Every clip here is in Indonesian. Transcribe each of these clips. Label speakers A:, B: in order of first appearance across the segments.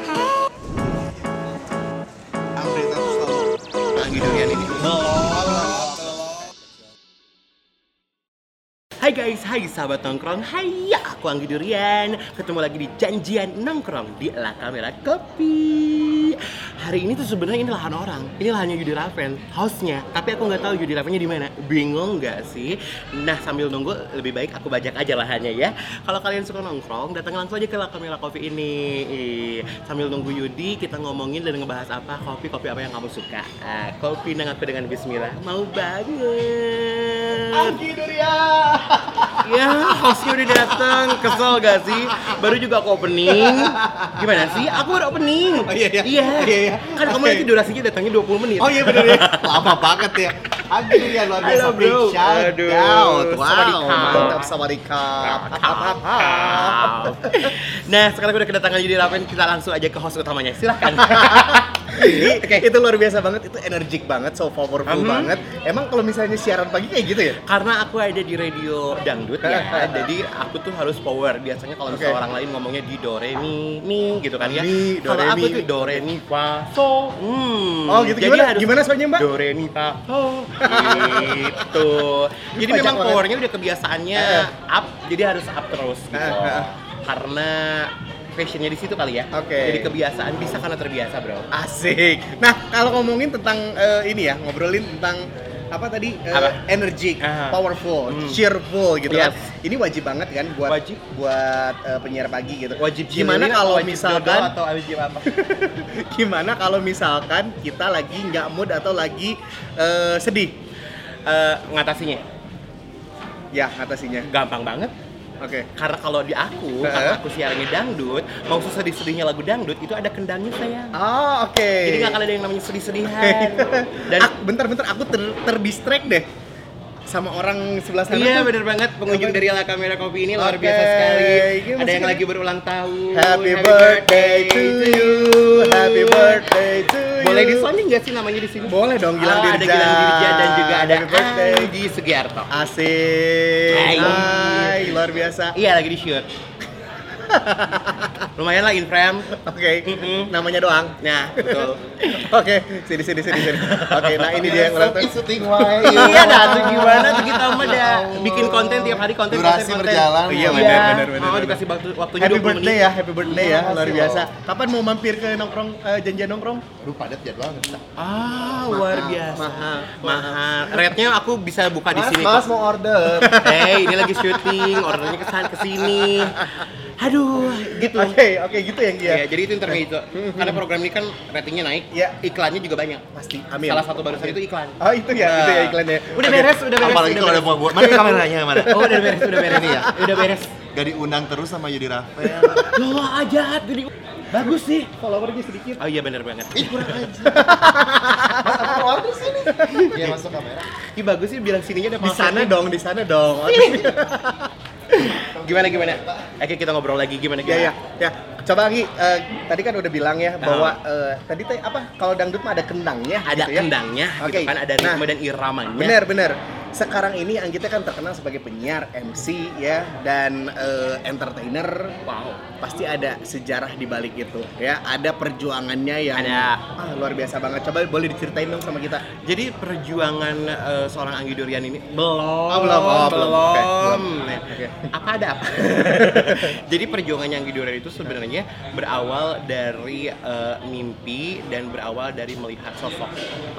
A: Oh. Hai guys, hai sahabat nongkrong, hai ya aku Anggi Durian Ketemu lagi di Janjian Nongkrong di La Kamera Kopi Hari ini tuh sebenarnya ini lahan orang, ini lahannya Yudi Raven, hostnya Tapi aku nggak tahu Yudi Ravennya di mana, bingung nggak sih? Nah sambil nunggu lebih baik aku bajak aja lahannya ya Kalau kalian suka nongkrong, datang langsung aja ke La Kamera Kopi ini Ih, Sambil nunggu Yudi, kita ngomongin dan ngebahas apa, kopi-kopi apa yang kamu suka Ah, Kopi nang aku dengan bismillah, mau banget
B: Anggi Durian.
A: Ya, hostnya udah datang. Kesel gak sih? Baru juga aku opening. Gimana sih? Aku baru opening.
B: Oh, iya, iya. Iya, iya.
A: Kan kamu
B: Oke.
A: nanti durasinya datangnya 20 menit.
B: Oh iya bener ya, lama banget ya. Anggi Durian luar biasa.
A: Halo, bro.
B: Big shout
A: Aduh,
B: out. Wow,
A: sawadika.
B: mantap sawadika.
A: Nah, sekarang udah kedatangan Yudi Raven, kita langsung aja ke host utamanya. Silahkan. Oke.
B: Itu luar biasa banget, itu energik banget, so powerful
A: Mhm.
B: banget. Emang kalau misalnya siaran pagi kayak gitu ya?
A: Karena aku ada di radio dangdut ya, jadi aku tuh harus power. Biasanya kalau misalnya
B: Oke.
A: orang lain ngomongnya di do re mi mi gitu kan ya.
B: Mi, do,
A: Kalau
B: re,
A: aku
B: mi.
A: tuh do re mi fa so. Hmm.
B: Oh gitu,
A: Jadi
B: gimana?
A: harus
B: Gimana soalnya mbak?
A: Do re mi fa so gitu. Jadi
B: Banyak
A: memang
B: banget.
A: powernya udah kebiasaannya
B: Eh.
A: up, jadi harus up terus gitu.
B: Eh, eh, eh.
A: Karena passionnya di situ kali ya.
B: Oke.
A: Jadi kebiasaan bisa karena terbiasa bro.
B: Asik. Nah, kalau ngomongin tentang eh, ini ya, ngobrolin tentang apa tadi? Eh,
A: Apa?
B: Energik,
A: Ah.
B: powerful,
A: Hmm.
B: cheerful gitu
A: Yes.
B: kan. Ini wajib banget kan buat
A: Wajib.
B: buat eh, penyiar pagi gitu.
A: Wajib
B: Gimana
A: cheerleader
B: kalau
A: atau wajib
B: misalkan
A: dodo atau wajib apa?
B: gimana kalau misalkan kita lagi nggak mood atau lagi eh, sedih?
A: Eh, Ngatasinya
B: Ya, ngatasinya.
A: gampang banget.
B: Oke.
A: Karena kalau di aku,
B: Heeh.
A: karena aku siarannya dangdut, mau sedih-sedihnya lagu dangdut itu ada kendangnya sayang.
B: Ah, oke.
A: Jadi nggak akan ada yang namanya sedih-sedihan. Dan
B: Dan bentar-bentar aku ter terdistract deh sama orang sebelah sana.
A: iya
B: tuh.
A: bener banget pengunjung dari La Kamera Kopi ini luar
B: Oke.
A: biasa sekali.
B: Ini
A: Ada yang
B: maksudnya-
A: lagi berulang tahun.
B: Happy birthday to you. Happy birthday to you.
A: Boleh di sounding nggak sih namanya di sini?
B: Boleh dong Gilang
A: Ah,
B: Dirja.
A: Ada Gilang Dirja dan juga ada
B: Happy birthday.
A: Anggi Sugiarto.
B: Asik.
A: Hai.
B: Hai, luar biasa.
A: Iya lagi di shoot. Lumayan lah in frame.
B: Oke,
A: Mm-mm.
B: namanya doang.
A: Nah, betul.
B: Oke, sini sini sini sini. Oke, nah ini dia yang ulang tahun.
A: iya dah tuh gimana tuh kita mah
B: Ya
A: dah bikin konten tiap hari konten
C: Durasi
A: konten, konten.
C: berjalan.
B: Iya,
A: iya
B: benar, benar, benar,
A: mau
B: benar.
A: dikasih waktu waktunya
B: Happy
A: 20
B: birthday
A: menit.
B: ya, happy birthday ya,
C: Iya,
B: luar
C: makasih
B: biasa.
C: loh.
B: Kapan mau mampir ke nongkrong eh, janjian nongkrong?
C: Aduh padat jadwalnya.
A: ah luar
B: Mahal,
A: biasa
B: mahal.
A: mahal rate-nya aku bisa buka di
C: Mas,
A: sini
C: mas mau order.
A: Hei, ini lagi syuting, orangnya kesan kesini. Aduh, gitu.
B: Oke, oke gitu yang dia.
A: Ya, jadi itu intermezzo. Karena program ini kan ratingnya naik,
B: Hmm, Iya.
A: iklannya juga banyak.
B: Pasti. Amin.
A: Salah satu barusan itu iklan.
B: Oh, itu
C: Iya,
B: ya,
C: gitu
B: itu ya iklannya.
A: Nah, Udah
B: Oke.
A: beres, udah beres.
C: Apalagi kalau ada buah buah. Mana kameranya mana?
A: Oh, udah beres, udah beres
C: Ini
A: ya.
C: ya?
A: Udah beres.
C: Gak diundang terus sama Yudi Rafael.
A: Loh, ah, ajaat gede. Bagus sih.
B: Followernya sedikit.
A: Oh iya bener banget.
C: Ih kurang aja. Mas aku order sini. Iya masuk kamera.
A: Ih bagus sih bilang sininya ada
B: Di
A: palsu.
B: sana dong, di sana dong. Oke.
A: Gimana gimana? Oke kita ngobrol lagi
B: Ya
A: gimana
C: Iya,
B: ya
A: gimana?
B: ya. Coba lagi eh, tadi kan udah bilang ya bahwa eh, tadi teh apa kalau dangdut mah ada kendangnya
A: Nah. Ada
B: gitu ya.
A: kendangnya,
B: Oke.
A: gitu kan ada
B: Nah.
A: ritme dan iramanya.
B: Bener bener. Sekarang ini Anggita kan terkenal sebagai penyiar, MC ya dan eh, entertainer.
A: Wow.
B: Pasti ada sejarah di balik itu ya. Ada perjuangannya yang
A: Ada.
B: ah, luar biasa banget. Coba boleh diceritain dong sama kita.
A: Jadi perjuangan eh, seorang Anggi Durian ini belum,
B: Oh, belum. Oh,
A: belum.
B: belum. Oke, belum.
A: Nah,
B: Oke.
A: Apa ada apa? Jadi perjuangan Anggi Durian itu sebenarnya berawal dari eh, mimpi dan berawal dari melihat sosok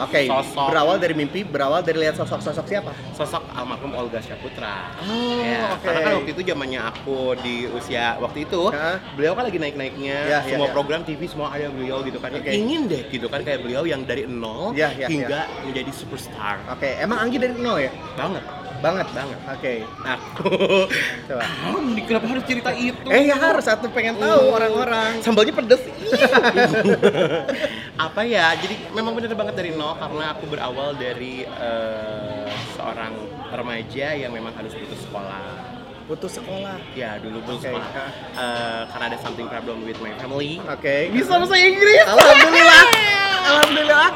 B: Oke.
A: Sosok.
B: Berawal dari mimpi, berawal dari lihat sosok-sosok siapa?
A: sosok almarhum Olga Syaputra.
B: Oh,
A: Ya,
B: oke.
A: Karena kan waktu itu zamannya aku di usia waktu itu,
B: Hah?
A: beliau kan lagi naik-naiknya,
B: Ya, ya,
A: semua
B: ya.
A: program TV semua ada beliau gitu kan.
B: Oke.
A: Ingin deh gitu kan kayak beliau yang dari nol
B: Ya, ya,
A: hingga menjadi superstar.
B: Oke. Emang Anggi dari nol ya?
A: Banget.
B: Banget
A: Banget.
B: Oke.
A: Aku.
B: Coba.
A: Ham, di- kenapa harus cerita itu?
B: Eh ya harus satu pengen tahu orang-orang.
A: Hmm. Sambalnya pedes. Ih. Apa ya? Jadi memang bener banget dari nol karena aku berawal dari eh, seorang remaja yang memang harus putus sekolah.
B: Putus sekolah.
A: Ya dulu pun
B: Oke.
A: sekolah Eh, karena ada something problem with my family.
B: Oke.
A: Bisa bahasa Inggris.
B: Alhamdulillah. Alhamdulillah.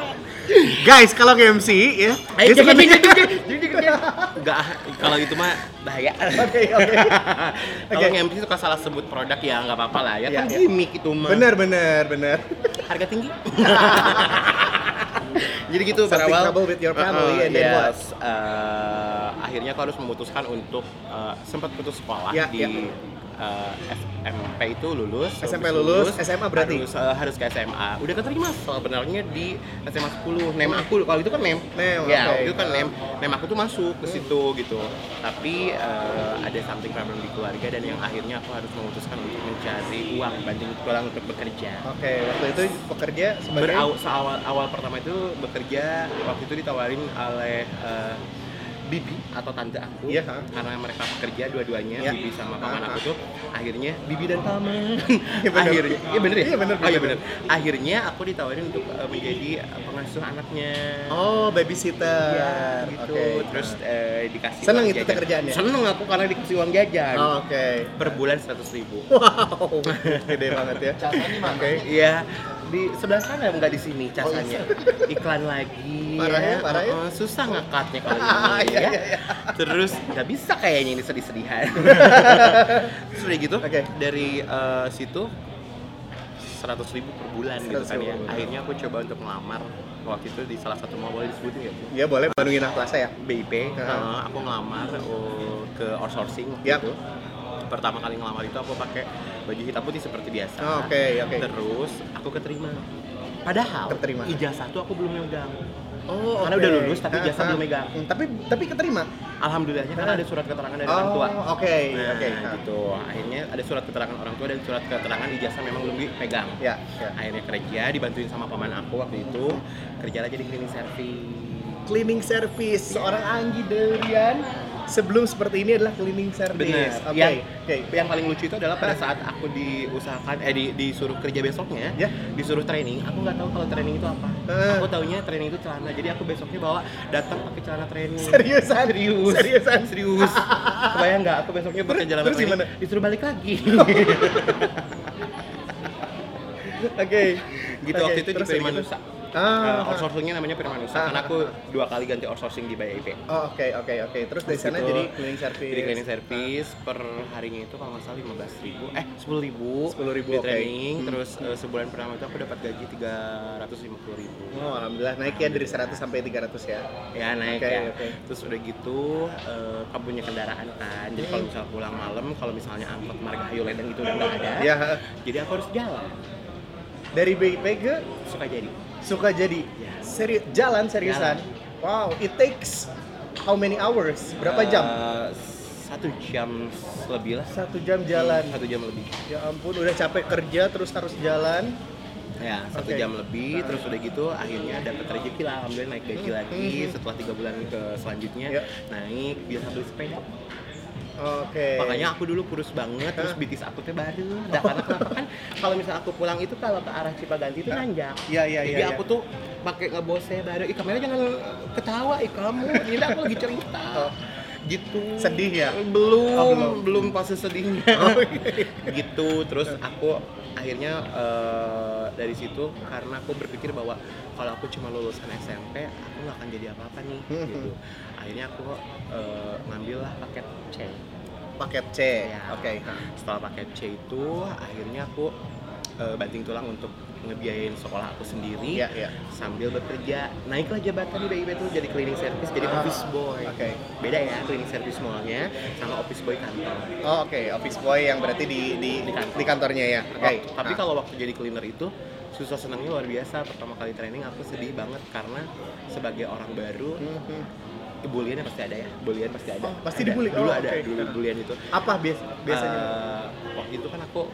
B: Guys, kalau MC ya.
A: Ayo,
B: dia suka
A: jangan,
B: bikin-
A: jangan, Enggak, ah. kalau itu mah bahaya.
B: Oke, oke.
A: Kalau
B: Oke.
A: nge-MC suka salah sebut produk ya nggak apa-apa lah ya.
B: Ya,
A: Kan
B: ya.
A: gimmick itu mah.
B: Bener, bener, bener.
A: Harga tinggi. Jadi gitu
B: Something
A: berawal.
B: trouble with your family,
A: Uh-uh,
B: and then what?
A: yes, eh, akhirnya aku harus memutuskan untuk eh, sempat putus sekolah
B: Ya,
A: di
B: ya.
A: eh, SMP itu lulus.
B: SMP
A: habis
B: lulus, SMA berarti?
A: Harus, eh, harus ke SMA. Udah keterima sebenarnya di SMA 10 nem aku kalau itu kan nem.
B: Nem, oke.
A: Ya,
B: Hmm.
A: itu kan nem. Nem aku tuh masuk ke situ gitu. Tapi eh, ada something problem di keluarga dan yang akhirnya aku harus memutuskan untuk mencari uang banding pulang untuk bekerja.
B: Oke, waktu itu pekerja sebagai
A: Berau, seawal awal pertama itu bekerja waktu itu ditawarin oleh eh, bibi atau tante aku
B: Iya, ha.
A: karena mereka bekerja dua-duanya
B: Iya.
A: bibi sama
B: Ha,
A: paman
B: ha.
A: aku tuh akhirnya bibi dan paman
B: Iya, bener.
A: akhirnya iya bener ya
B: Iya, bener,
A: oh iya
B: bener.
A: bener akhirnya aku ditawarin untuk eh, menjadi eh, pengasuh anaknya
B: Oh, babysitter.
A: Iya, gitu
B: Oke.
A: terus eh, dikasih
B: Seneng
A: uang
B: itu
A: jajan.
B: pekerjaannya?
A: seneng aku karena dikasih uang jajan
B: Oh, Oke.
A: per bulan seratus ribu
B: Wow, gede banget ya.
C: Caranya di mana?
B: Oke.
A: Iya, di sebelah sana nggak di sini casanya.
B: Oh, iya.
A: Iklan lagi.
B: Parahnya, parahnya.
A: Uh-uh, susah ngangkatnya kalau ini
B: ya, Iya, iya,
A: ya.
B: iya.
A: Terus nggak bisa kayaknya ini sedih-sedihan. Terus udah gitu
B: Oke.
A: dari eh, situ 100.000 ribu per bulan gitu kan
B: 100.000 per
A: ya.
B: bulan.
A: Akhirnya aku coba untuk melamar waktu itu di salah satu mall boleh disebutin ya Bu?
B: Iya boleh Bandung Indah Plaza ya.
A: BIP, eh, aku ngelamar oh, ke outsourcing waktu
B: Yap.
A: itu. Pertama kali ngelamar itu aku pakai baju hitam putih seperti biasa.
B: Oh, Oke, oke.
A: Terus aku keterima. Padahal
B: Keterima.
A: ijazah tuh aku belum megang.
B: Oh,
A: Karena
B: oke.
A: udah lulus, tapi
B: Ah,
A: ijazah
B: ah.
A: belum megang.
B: Hmm, Tapi tapi keterima.
A: Alhamdulillahnya karena ada surat keterangan dari orang
B: oh,
A: tua.
B: oke,
A: Nah,
B: oke. Ah.
A: gitu. Akhirnya ada surat keterangan orang tua dan surat keterangan ijazah memang belum dipegang.
B: Ya, ya.
A: Akhirnya kerja dibantuin sama paman aku waktu itu kerja aja di cleaning service.
B: Cleaning service seorang Anggi Delian sebelum seperti ini adalah cleaning
A: Bener. Ya.
B: service. Iya, Oke,
A: Yang,
B: oke.
A: yang paling lucu itu adalah pada saat aku diusahakan eh di- disuruh kerja besoknya,
B: Ya.
A: disuruh training, aku nggak tahu kalau training itu apa.
B: Eh.
A: Aku taunya training itu celana. Jadi aku besoknya bawa datang pakai celana training.
B: Seriusan,
A: Serius.
B: seriusan.
A: Serius. Kebayang nggak aku besoknya pakai
B: Terus-
A: celana
B: terus
A: training?
B: gimana?
A: Disuruh balik lagi.
B: Oke. Oke,
A: gitu waktu itu di
B: terus
A: Prima
B: gitu.
A: Nusa.
B: Ah,
A: Eh, outsourcingnya namanya Prima Nusa.
B: Ah,
A: Karena
B: ah,
A: aku dua kali ganti outsourcing di BIP.
B: Oh, oke, oke, oke. Terus dari sana
A: Gitu.
B: jadi cleaning service.
A: Jadi cleaning service per harinya itu kalau nggak salah 15.000 eh 10.000 ribu
B: 10.000,
A: di
B: oke.
A: training
B: Hmm.
A: terus eh, sebulan pertama itu aku dapat gaji 350.000 ribu
B: Oh, alhamdulillah naik ya dari 100 sampai 300 ya.
A: ya naik
B: Oke,
A: ya
B: oke.
A: terus udah gitu eh, kamu punya kendaraan kan jadi
B: Hmm.
A: kalau misalnya pulang malam kalau misalnya angkot marga Hayu Ledeng itu udah nggak ada
B: Ya,
A: jadi aku harus jalan
B: dari BIP ke
A: suka jadi
B: suka jadi
A: Ya.
B: serius jalan seriusan. Wow, it takes how many hours? Berapa
A: Eh,
B: jam?
A: satu jam lebih lah
B: Satu jam jalan.
A: satu jam lebih
B: Ya ampun, udah capek kerja terus harus jalan.
A: Ya, satu
B: Oke.
A: jam lebih,
B: Nah.
A: terus udah gitu akhirnya dapat rezeki lah, alhamdulillah naik gaji
B: Hmm,
A: lagi
B: hmm, hmm.
A: setelah tiga bulan ke selanjutnya
B: Ya.
A: naik biasa beli sepeda.
B: Oke.
A: Makanya aku dulu kurus banget, terus
B: Hah?
A: bitis aku tuh baru. Nah, karena kenapa kan kalau misalnya aku pulang itu kalau ke arah Cipaganti itu nanjak.
B: Iya, iya, iya.
A: Jadi
B: iya.
A: aku tuh pakai ngebose baru. Ih kamera jangan ketawa, ih kamu. Ini aku lagi cerita.
B: Oh.
A: Gitu.
B: sedih ya.
A: Belum,
B: Oh,
A: belum,
B: belum.
A: fase sedihnya. gitu. Terus aku akhirnya eh, dari situ karena aku berpikir bahwa kalau aku cuma lulusan SMP, aku nggak akan jadi apa-apa nih.
B: Hmm.
A: gitu. Akhirnya aku eh, ngambil lah paket C.
B: Paket C.
A: Ya.
B: Oke. Hah.
A: Setelah paket C itu, akhirnya aku eh, banting tulang untuk ngebiayain sekolah aku sendiri
B: Iya, iya.
A: sambil bekerja naiklah jabatan di BIP tuh jadi cleaning service jadi
B: Ah,
A: office boy
B: Oke.
A: beda ya cleaning service mallnya sama office boy kantor
B: Oh, oke, office boy yang berarti di di
A: Di kantor.
B: di kantornya ya. Oke.
A: Wak- Oh, tapi
B: Hah.
A: kalau waktu jadi cleaner itu susah senangnya luar biasa pertama kali training aku sedih banget karena sebagai orang baru
B: Hmm, hmm.
A: bulian pasti ada ya bulian pasti ada
B: Oh, pasti
A: Ada.
B: dibully.
A: dulu
B: Oh,
A: ada
B: oke.
A: dulu
B: Ah.
A: bulian itu
B: apa bias biasanya?
A: Eh, waktu itu kan aku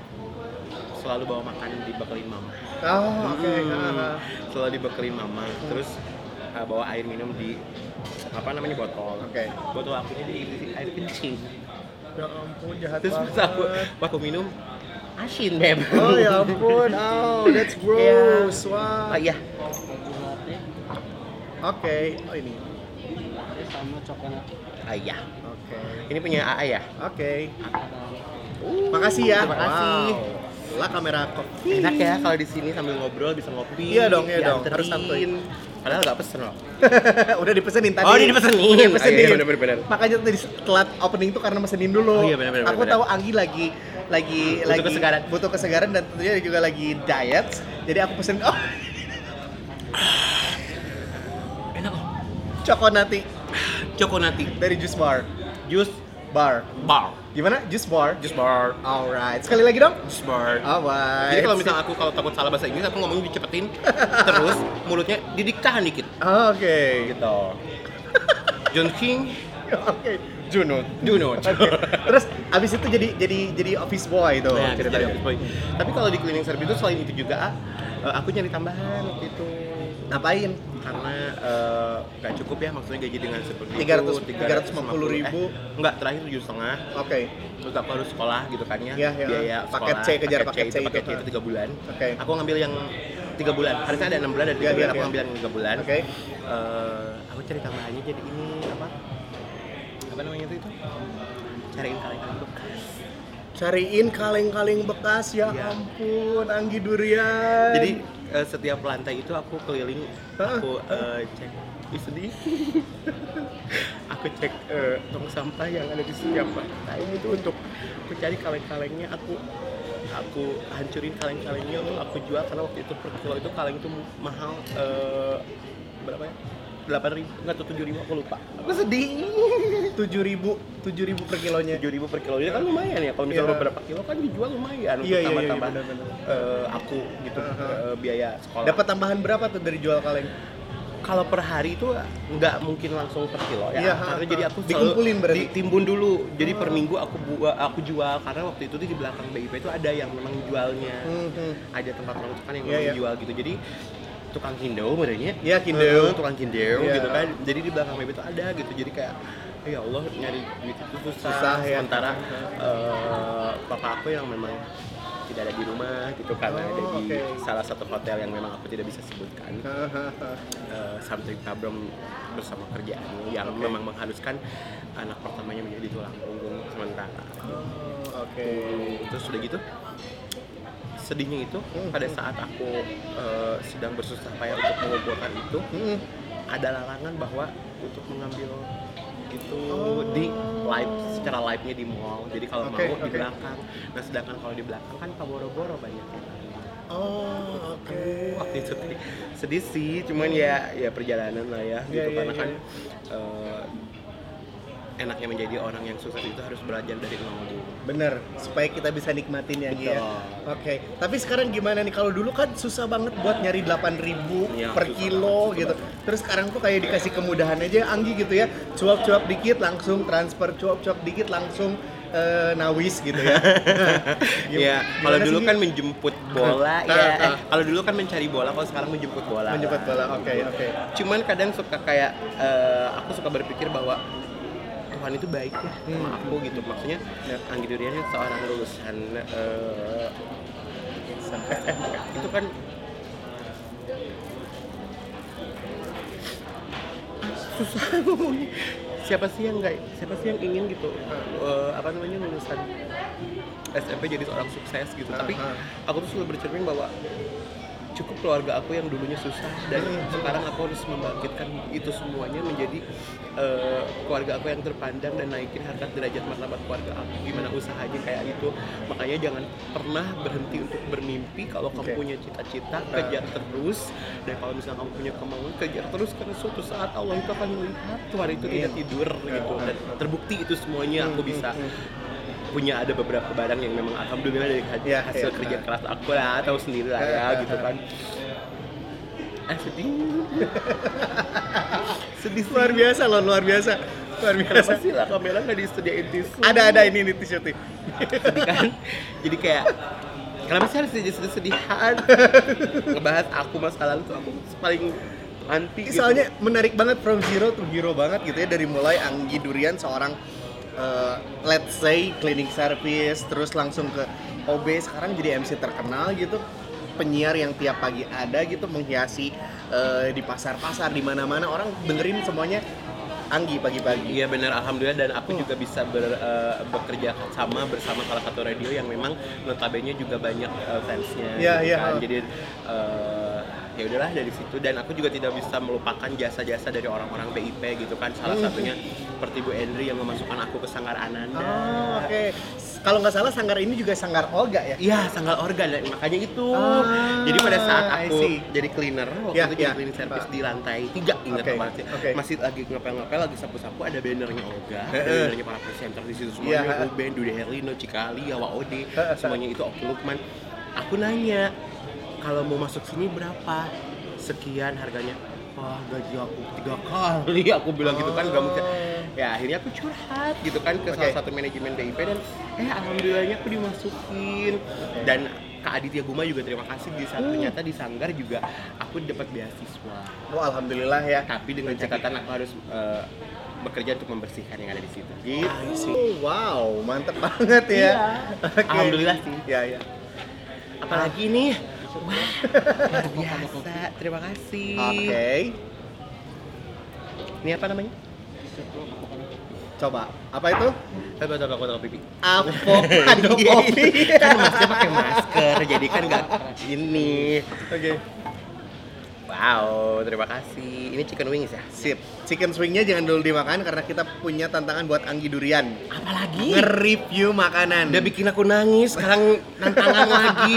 A: selalu bawa makan dibekelin mama
B: oh, oke.
A: Ah. Hmm.
B: Hah.
A: selalu dibekelin mama terus eh, bawa air minum di apa namanya botol
B: Oke.
A: botol akunya di air kencing
B: Ya ampun, jahat
A: terus pas
B: banget.
A: aku pas aku minum asin beb
B: Oh ya ampun, oh that's
A: Iya.
B: gross, wow.
A: Ah, iya
B: Oke, oh ini,
A: Ah, iya
B: oke,
A: ini punya AA ya
B: oke. Makasih ya.
A: Terima kasih.
B: Wow. Lah kamera kopi.
A: enak ya kalau di sini sambil ngobrol bisa ngopi
B: Iya dong, iya dong.
A: dianterin.
B: Harus santuy.
A: padahal nggak pesen loh
B: udah dipesenin tadi.
A: Oh, udah dipesenin.
B: Udah dipesenin.
A: Oh, iya, iya, bener, bener, bener.
B: Makanya tadi telat opening tuh karena mesenin dulu.
A: Oh, iya, bener, bener,
B: Aku
A: bener.
B: tahu Anggi lagi lagi
A: Butuh
B: lagi
A: kesegaran.
B: butuh kesegaran dan tentunya juga lagi diet. Jadi aku pesen oh. Cokonati
A: Cokonati
B: dari Juice Bar.
A: Juice
B: Bar.
A: Bar.
B: Gimana? Juice Bar.
A: Juice Bar.
B: Alright. Sekali lagi dong.
A: Juice Bar.
B: Alright.
A: Jadi kalau misalnya aku kalau takut salah bahasa Inggris aku ngomongnya dicepetin terus mulutnya didiktahan dikit.
B: Oke.
A: Gitu. John King,
B: Oke. Junut.
A: Juno.
B: Oke. Terus abis itu jadi jadi jadi office boy tuh
A: Nah, aku jadi
B: ceritanya.
A: office boy. Tapi kalau di cleaning service itu selain itu juga eh, aku nyari tambahan waktu itu
B: Ngapain?
A: karena eh, nggak cukup ya maksudnya gaji dengan seperti
B: 300
A: 350
B: 350.000.
A: eh, enggak terakhir tujuh setengah
B: Oke.
A: terus aku harus sekolah gitu kan ya,
B: Iya, iya.
A: biaya
B: Paket
A: sekolah,
B: C, kejar paket C
A: itu, paket C
B: itu.
A: itu tiga bulan
B: Oke.
A: aku ngambil yang tiga bulan harusnya ada enam bulan ada tiga
B: Iya,
A: bulan
B: iya,
A: aku
B: iya.
A: ngambil yang tiga bulan
B: Oke.
A: Eh, aku cari tambahannya jadi ini apa apa namanya itu itu cariin kaleng-kaleng bekas
B: Cariin kaleng-kaleng bekas ya
A: Iya.
B: ampun Anggi Durian.
A: jadi eh, setiap lantai itu aku keliling aku eh, cek Ih, sedih aku cek eh, tong sampah yang ada di setiap lantai itu untuk aku cari kaleng-kalengnya aku aku hancurin kaleng-kalengnya lalu aku jual karena waktu itu per kilo itu kaleng itu mahal eh, berapa ya delapan ribu nggak tuh tujuh ribu aku lupa
B: aku sedih. 7000 7000 per kilonya.
A: tujuh ribu per kilonya kan lumayan ya kalau misalnya
B: Iya.
A: beberapa kilo kan dijual lumayan
B: Iya, iya,
A: untuk
B: iya,
A: tambah-tambah
B: benar-benar.
A: eh, aku gitu eh, biaya sekolah
B: Dapat tambahan berapa tuh dari jual kaleng?
A: kalau per hari itu nggak mungkin langsung per kilo ya
B: Iya,
A: karena
B: ha,
A: jadi
B: ha.
A: aku selalu
B: Dikumpulin berarti? Hmm.
A: ditimbun dulu jadi per minggu aku buat aku jual karena waktu itu di belakang BIP itu ada yang memang jualnya
B: Hmm, hmm.
A: ada tempat orang tukang yang
B: Iya,
A: memang
B: iya.
A: jual gitu jadi tukang kindau merenya
B: Iya, kindeu.
A: tukang kindau
B: Iya.
A: gitu kan jadi di belakang BIP itu ada gitu jadi kayak ya Allah nyari duit itu susah,
B: Susah, ya.
A: sementara eh, papa aku yang memang tidak ada di rumah gitu
B: Oh,
A: karena ada di
B: oke. Hmm,
A: salah satu hotel yang memang aku tidak bisa sebutkan
B: Hahaha.
A: eh, something problem bersama kerjaannya yang memang mengharuskan anak pertamanya menjadi tulang punggung sementara.
B: Oh, Oke.
A: Terus sudah gitu sedihnya itu
B: Hmm.
A: pada saat aku eh, sedang bersusah payah untuk mengumpulkan itu
B: Hmm.
A: ada larangan bahwa untuk mengambil itu
B: Oh.
A: di live secara live nya di mall jadi kalau
B: Oke,
A: mau di
B: oke.
A: belakang nah sedangkan kalau di belakang kan paboro-boro banyak
B: Oh, oke.
A: waktu itu tuh sedih sih cuman ya ya perjalanan lah ya gitu
B: Iya, iya,
A: karena
B: iya.
A: kan eh, enaknya menjadi orang yang sukses itu harus belajar dari nol dulu
B: Bener, supaya kita bisa nikmatin ya Gi, ya.
A: Betul.
B: Oke, tapi sekarang gimana nih? Kalau dulu kan susah banget buat nyari 8000 ribu
A: Iya,
B: per
A: susah
B: kilo
A: banget, susah
B: gitu. Terus sekarang tuh kayak dikasih kemudahan aja Anggi gitu ya. Cuap-cuap dikit langsung transfer, cuap-cuap dikit langsung eh, nawis gitu ya. Gim-
A: ya
B: gimana
A: kalau
B: sih,
A: dulu
B: Gi?
A: kan menjemput bola
B: Nah,
A: ya
B: nah.
A: eh, kalau dulu kan mencari bola kalau sekarang menjemput bola
B: menjemput
A: lah.
B: bola. Oke, oke.
A: cuman kadang suka kayak eh, aku suka berpikir bahwa Tuhan itu baik ya sama
B: Hmm.
A: aku gitu maksudnya
B: Ya.
A: Anggi Durian ini seorang lulusan eh, SMPTN itu kan susah ngomongnya siapa sih yang nggak siapa sih yang ingin gitu eh, apa namanya lulusan SMP jadi seorang sukses gitu tapi
B: Aha.
A: aku tuh selalu bercermin bahwa cukup keluarga aku yang dulunya susah dan sekarang aku harus membangkitkan itu semuanya menjadi eh, keluarga aku yang terpandang dan naikin harkat derajat martabat keluarga aku gimana usahanya kayak gitu makanya jangan pernah berhenti untuk bermimpi kalau kamu
B: Oke. Nah.
A: punya cita-cita kejar terus dan kalau misalnya kamu punya kemauan kejar terus karena suatu saat Allah itu akan melihat Tuhan itu
B: Iya. Hmm,
A: tidak tidur gitu dan terbukti itu semuanya aku bisa punya ada beberapa barang yang memang alhamdulillah dari ha-
B: Iya,
A: hasil
B: iya.
A: kerja keras aku lah tahu sendiri lah ya
B: Iya,
A: gitu
B: iya.
A: kan eh sedih sedih sih.
B: Luar biasa loh, luar biasa. Luar biasa.
A: kenapa sih lah kamera nggak disediain tisu
B: Ada ada ini nih t-shirtnya.
A: sedih kan jadi kayak kenapa sih harus jadi sedih-sedihan ngebahas aku masa lalu tuh aku paling anti gitu.
B: Soalnya menarik banget from zero to hero banget gitu ya dari mulai Anggi Durian seorang eh, let's say cleaning service terus langsung ke OB sekarang jadi MC terkenal gitu penyiar yang tiap pagi ada gitu menghiasi eh, di pasar-pasar di mana-mana orang dengerin semuanya Anggi pagi-pagi.
A: Iya benar, alhamdulillah dan aku juga bisa ber- eh, bekerja sama bersama salah satu radio yang memang notabene juga banyak eh, fansnya.
B: Iya,
A: gitu
B: iya.
A: kan. Jadi eh, ya udahlah
B: Hmm.
A: dari situ dan aku juga tidak bisa melupakan jasa-jasa dari orang-orang BIP gitu kan. Salah satunya seperti Bu Endri yang memasukkan aku ke sanggar Ananda.
B: Oh, oke. Kalau nggak salah sanggar ini juga sanggar Olga ya?
A: Iya, sanggal organ dan makanya itu.
B: Ah,
A: jadi pada saat
B: I
A: aku
B: see.
A: jadi cleaner, waktu
B: Ya,
A: itu
B: ya.
A: jadi cleaning service di lantai tiga ingat
B: Oke,
A: banget sih.
B: oke.
A: Masih lagi ngepel-ngepel, lagi sapu-sapu ada bannernya Olga, ada
B: Heeh.
A: bannernya para presenter di situ semuanya,
B: Iya.
A: Ruben, Dude Herlino, Cikali, Yawa Ode,
B: Heeh.
A: semuanya itu Oki Lukman. Aku nanya, kalau mau masuk sini berapa? Sekian harganya. Wah, gaji aku tiga kali aku bilang gitu kan gak mungkin ya akhirnya aku curhat gitu kan ke
B: Oke.
A: salah satu manajemen DIP dan eh alhamdulillahnya aku dimasukin dan Kak Aditya Guma juga terima kasih di saat ternyata di Sanggar juga aku dapat beasiswa
B: Oh, alhamdulillah ya.
A: tapi dengan catatan aku harus eh, bekerja untuk membersihkan yang ada di situ
B: Gitu. Wow, mantep banget ya.
A: Ah, Iya.
B: Oke.
A: Alhamdulillah sih.
B: Iya, iya.
A: apalagi ini wah luar biasa terima kasih
B: Oke.
A: ini apa namanya
B: Coba, apa itu?
A: Coba coba aku tahu pipi.
B: Avocado kopi.
A: kan masnya pakai masker, jadi kan nggak ini.
B: Oke.
A: Wow, terima kasih. Ini chicken wings ya?
B: Sip. Chicken swingnya jangan dulu dimakan karena kita punya tantangan buat Anggi Durian.
A: Apalagi?
B: Nge-review makanan.
A: Udah bikin aku nangis, sekarang tantangan lagi.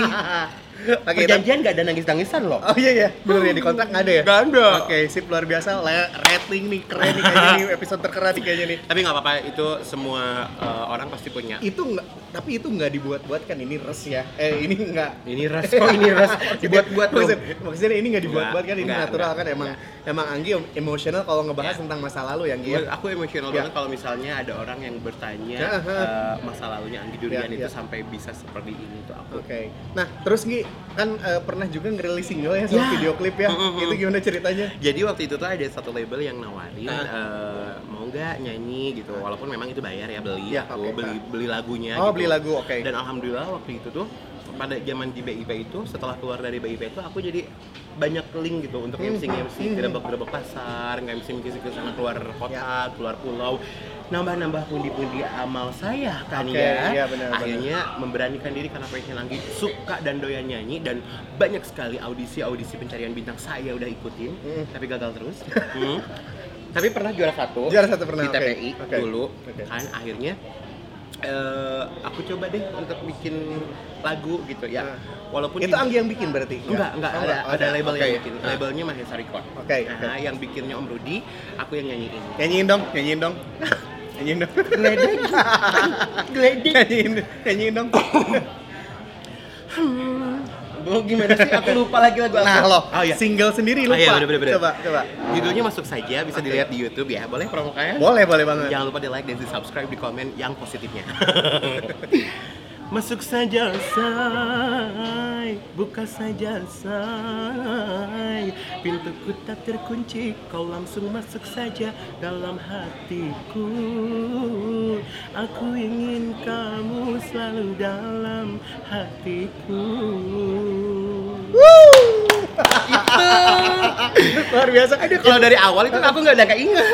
B: Oke, kita-
A: Perjanjian nggak ada nangis-nangisan loh.
B: Oh iya ya, bener ya di kontrak nggak ada ya?
A: Nggak ada.
B: Oke, sip luar biasa. Le- rating nih keren nih kayaknya nih episode terkeren nih kayaknya nih.
A: Tapi nggak apa-apa, itu semua eh, orang pasti punya.
B: Itu nggak, tapi itu nggak dibuat-buatkan ini res ya. Eh ini nggak
A: Ini ras, kok ini ras? Dibuat-buat dong.
B: Maksud- maksudnya ini nggak dibuat-buatkan, ini
A: Nggak,
B: natural
A: nggak,
B: kan emang emang Anggi emosional kalau ngebahas
A: Ya.
B: tentang masa lalu yang
A: Gua-
B: gitu.
A: Aku emosional
B: Ya.
A: banget kalau misalnya ada orang yang bertanya
B: Ya, ha.
A: eh, masa lalunya Anggi Durian
B: Ya,
A: itu
B: ya.
A: sampai bisa seperti ini tuh aku.
B: Oke. Nah, terus Gi kan eh, pernah juga ngerilis single ya sama
A: Ya.
B: video klip ya.
A: Mm-mm.
B: Itu gimana ceritanya?
A: Jadi waktu itu tuh ada satu label yang nawarin
B: Iya. Ah.
A: eh, mau nggak nyanyi gitu, walaupun memang itu bayar ya beli
B: Ya,
A: aku
B: oke,
A: beli beli lagunya.
B: Oh,
A: gitu.
B: beli lagu, oke.
A: Dan alhamdulillah waktu itu tuh pada zaman di BIP itu setelah keluar dari BIP itu aku jadi banyak link gitu untuk
B: Hmm.
A: MC MC
B: Hmm.
A: gerebek-gerebek pasar, MC MC ke sana keluar kota, keluar pulau nambah-nambah pundi-pundi amal saya kan
B: Oke,
A: ya
B: iya, benar, benar.
A: akhirnya memberanikan diri karena passion Anggi suka dan doyan nyanyi dan banyak sekali audisi-audisi pencarian bintang saya udah ikutin
B: Mm.
A: tapi gagal terus Mm. tapi pernah juara satu
B: Hmm. Juara satu pernah,
A: di
B: oke.
A: TPI
B: Oke.
A: dulu
B: Oke.
A: kan akhirnya eh, aku coba deh untuk bikin lagu gitu ya
B: Ah.
A: walaupun
B: Itu
A: di-
B: Anggi yang bikin berarti?
A: Enggak, enggak,
B: Oh,
A: ada,
B: enggak.
A: ada label
B: Oke. Ah. Nah,
A: yang bikin. Labelnya Mahesa Record.
B: Oke,
A: Nah,
B: oke.
A: yang bikinnya Om Rudi, aku yang nyanyiin.
B: Nyanyiin dong, nyanyiin dong. nyanyiin dong.
A: Gledek. Gledek.
B: nyanyiin, nyanyiin dong.
A: Belum gimana sih? Aku lupa lagi lagu aku.
B: Nah lo,
A: Oh iya.
B: single sendiri lupa.
A: Oh, iya, bener, bener, bener.
B: Coba, coba.
A: Judulnya masuk saja, bisa
B: Oke.
A: dilihat di YouTube ya. Iya. Boleh promo kalian?
B: Boleh, boleh banget.
A: Jangan lupa di like dan di subscribe di komen yang positifnya. Masuk saja say, buka saja say. Pintuku tak terkunci, kau langsung masuk saja dalam hatiku. Aku ingin kamu selalu dalam hatiku.
B: Luar biasa.
A: Aduh, kalau dari awal itu aku nggak ada keinget.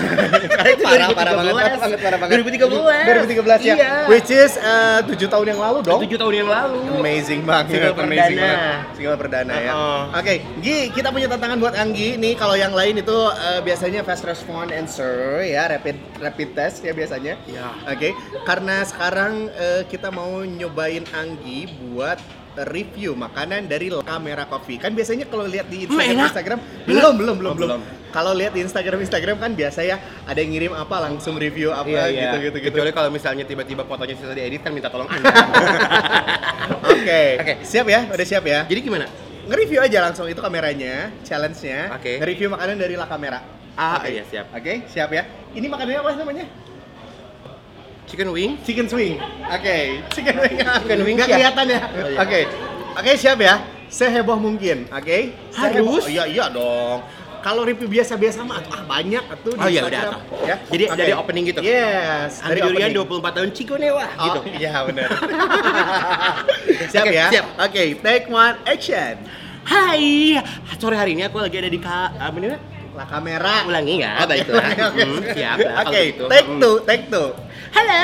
A: Karena itu
B: Parah, parah banget, parah banget, parah banget.
A: 2013.
B: 2013 ya.
A: Iya.
B: Which is eh, 7 tahun yang lalu dong.
A: 7 tahun yang lalu.
B: Amazing banget,
A: Single
B: amazing
A: perdana.
B: banget. Single perdana ya.
A: Uh-uh.
B: Oke, Gi, kita punya tantangan buat Anggi. Nih kalau yang lain itu eh, biasanya fast response answer ya, rapid rapid test ya biasanya.
A: Ya.
B: Oke, karena sekarang eh, kita mau nyobain Anggi buat review makanan dari Kamera Coffee. Kan biasanya kalau lihat di
A: Hmm,
B: Instagram,
A: enak.
B: Instagram belum belum belum
A: Oh,
B: belum.
A: belum.
B: Kalau lihat di Instagram Instagram kan biasa ya ada yang ngirim apa langsung review apa
A: Iya, iya.
B: gitu gitu gitu.
A: Kecuali kalau misalnya tiba-tiba fotonya susah diedit kan minta tolong Anda.
B: Oke.
A: Oke.
B: Siap ya? Udah siap ya?
A: Jadi gimana?
B: Nge-review aja langsung itu kameranya, challenge-nya.
A: Oke.
B: Nge-review makanan dari La Kamera.
A: Ah,
B: Oke.
A: iya, siap.
B: Oke, siap ya. Ini makanannya apa namanya?
A: Chicken wing?
B: Chicken swing. Oke, chicken wing.
A: Chicken wing,
B: Nggak
A: siap.
B: kelihatan ya.
A: Oh, iya.
B: Oke. Oke, siap ya. Seheboh mungkin, oke?
A: Harus.
B: Seheboh- Iya, iya dong. Kalau review biasa-biasa mah ah banyak tuh
A: Oh, iya,
B: Instagram. ya.
A: udah, atuh. Jadi
B: Oke.
A: dari opening gitu?
B: Yes,
A: Dari Durian
B: opening.
A: 24 tahun Cikonewa
B: Oh,
A: gitu.
B: Iya, benar. siap
A: Oke,
B: ya?
A: siap.
B: Oke, take one action.
A: Hai, sore hari ini aku lagi ada di Ka... apa namanya?
B: lah kamera.
A: Ulangi ya, baiklah. Hmm, siap lah kalau
B: Oke,
A: gitu.
B: take
A: Hmm.
B: two, take two.
A: Halo,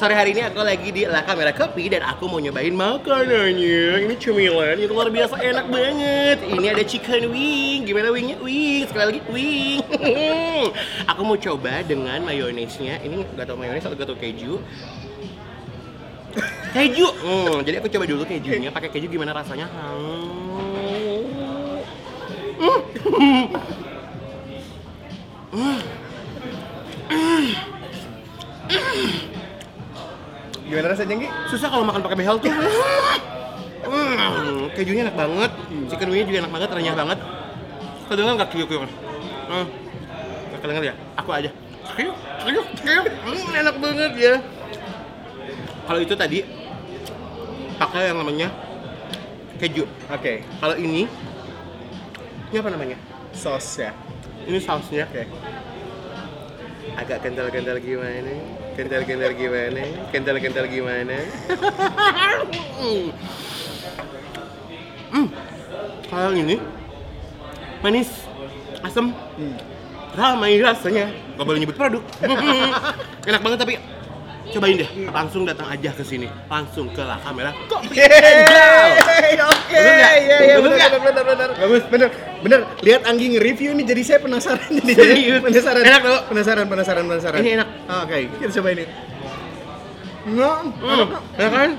A: sore hari ini aku lagi di La Kamera Kopi dan aku mau nyobain makanannya. Ini cemilan yang luar biasa enak banget. Ini ada chicken wing. Gimana wingnya? Wing, sekali lagi wing. aku mau coba dengan mayonesnya. Ini gak tau mayones atau gak tau keju. Keju. Hmm, jadi aku coba dulu kejunya. Pakai keju gimana rasanya? Hmm.
B: Gimana rasanya, Gi?
A: susah kalau makan pakai behel tuh. Hmm, kejunya enak banget, chicken wingnya juga enak banget, renyah banget. Kedengar nggak kriuk kriuk? Hmm, nggak kedengar ya? Aku aja. Kriuk, kriuk, kriuk. Hmm, enak banget ya. Kalau itu tadi pakai yang namanya keju.
B: Oke,
A: Kalau ini, ini apa namanya?
B: saus ya.
A: Ini ya. sausnya
B: Oke.
A: agak kental-kental gimana? Kental-kental gimana? Kental-kental gimana? hmm. Kalau yang ini manis, asam,
B: Hmm.
A: ramai rasanya. Gak boleh nyebut produk. Hmm. Enak banget tapi cobain deh. Langsung datang aja ke sini. Langsung ke La Kamera ya? Kopi and Chow.
B: Yeay, Oke,
A: Bener nggak?
B: iya iya
A: Bener
B: bener
A: nggak?
B: bener bener bener. Bagus, bener. Bener, lihat Anggi nge-review nih jadi saya penasaran jadi
A: Serius?
B: penasaran.
A: Enak tuh.
B: Penasaran, penasaran, penasaran.
A: Ini enak.
B: Oke, kita coba ini. Nggak,
A: Hmm. Ya kan?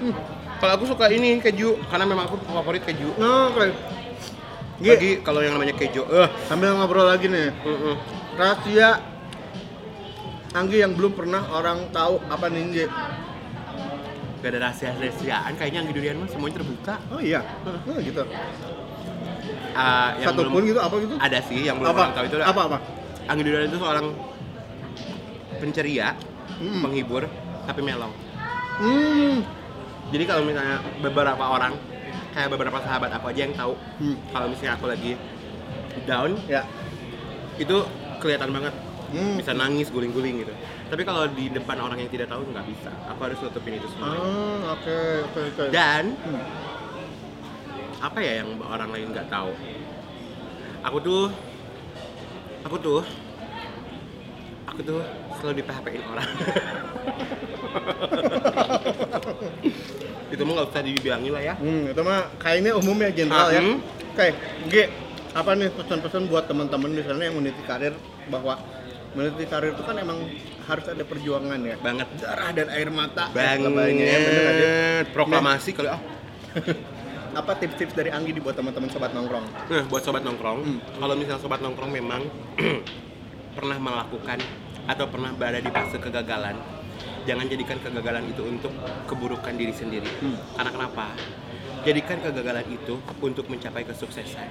A: Kalau aku suka ini keju karena memang aku favorit keju.
B: nggak, oke. Gi,
A: Lagi kalau yang namanya keju, eh.
B: sambil ngobrol lagi nih.
A: Mm-mm.
B: Rahasia Anggi yang belum pernah orang tahu apa nih, Gi.
A: Gak ada rahasia-rahasiaan, kayaknya yang di durian mah semuanya terbuka.
B: Oh iya. Oh, gitu.
A: Ah, yang
B: Satu
A: belum-
B: pun gitu apa gitu?
A: ada sih yang belum
B: apa?
A: orang tahu itu
B: apa apa?
A: Anggi Durian itu seorang penceria,
B: Mm.
A: penghibur, tapi melong.
B: Hmm.
A: Jadi kalau misalnya beberapa orang, kayak beberapa sahabat aku aja yang tahu
B: Hmm.
A: kalau misalnya aku lagi down,
B: Ya.
A: itu kelihatan banget
B: Hmm.
A: bisa nangis guling-guling gitu. Tapi kalau di depan orang yang tidak tahu nggak bisa. Aku harus nutupin itu semua.
B: Ah, oke, oke, oke.
A: Dan
B: Hmm.
A: apa ya yang orang lain nggak tahu aku tuh aku tuh aku tuh selalu di PHP-in orang itu mah nggak usah dibilangin lah ya
B: Hmm, itu mah kayaknya umum ya general
A: Ah,
B: ya.
A: hmm.
B: Oke, G, apa nih pesan-pesan buat teman-teman di sana yang meniti karir bahwa meniti karir itu kan emang harus ada perjuangan ya.
A: banget
B: Darah dan air mata. ya, lebaynya ya, bener nggak sih?
A: banget proklamasi kali ah
B: Apa tips-tips dari Anggi di buat teman-teman sobat nongkrong?
A: Nah, buat sobat nongkrong,
B: Hmm.
A: kalau misalnya sobat nongkrong memang pernah melakukan atau pernah berada di fase kegagalan, jangan jadikan kegagalan itu untuk keburukan diri sendiri.
B: Hmm.
A: Karena kenapa? Jadikan kegagalan itu untuk mencapai kesuksesan.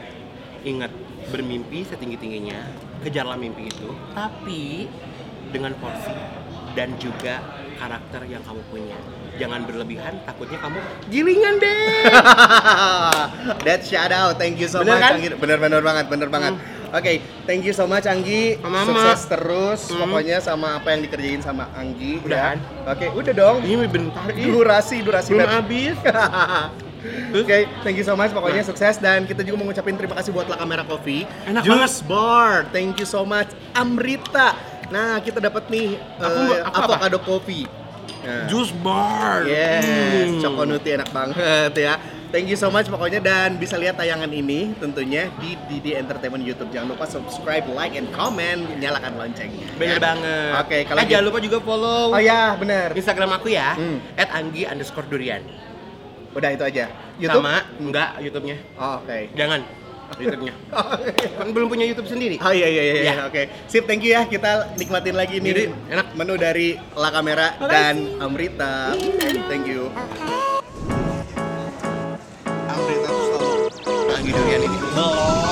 A: Ingat, bermimpi setinggi-tingginya, kejarlah mimpi itu, tapi dengan porsi dan juga karakter yang kamu punya. Jangan berlebihan, takutnya kamu gilingan deh.
B: That shout out, thank you so
A: Bener
B: much
A: kan? Hmm.
B: Anggi. Bener bener banget, bener banget. Oke, thank you so much Anggi.
A: Sama-sama.
B: Sukses terus
A: Hmm.
B: pokoknya sama apa yang dikerjain sama Anggi. ya.
A: Udahan?
B: Oke, udah dong.
A: Ini bentar, ih.
B: Durasi, durasi
A: Iya. belum
B: Beb.
A: habis.
B: Oke, thank you so much. Pokoknya sukses dan kita juga mau ngucapin terima kasih buat La Kamera Coffee.
A: Nah. Enak
B: Juice Bar, thank you so much. Amrita. Nah, kita dapat nih
A: Aku
B: eh,
A: nggak- aku apa?
B: avocado coffee. Nah.
A: Jus bar.
B: Yes,
A: Hmm.
B: Cokonuti enak banget ya. Thank you so much pokoknya dan bisa lihat tayangan ini tentunya di Didi Entertainment YouTube. Jangan lupa subscribe, like, and comment, nyalakan loncengnya. Ya.
A: Bener banget.
B: Oke, kalau
A: Eh,
B: gitu-
A: jangan lupa juga follow
B: Oh ya, benar.
A: Instagram aku ya,
B: Hmm.
A: @anggi underscore durian.
B: Udah itu aja. YouTube.
A: Sama, enggak YouTube-nya.
B: Oh, Oke.
A: Jangan YouTube-nya. kan belum punya YouTube sendiri.
B: Oh iya iya iya, iya.
A: Ya.
B: oke. Sip, thank you ya. Kita nikmatin lagi nih
A: Jadi, enak.
B: menu dari La Kamera dan Amrita. Thank you. Amrita tuh selalu lagi durian ini. Belum.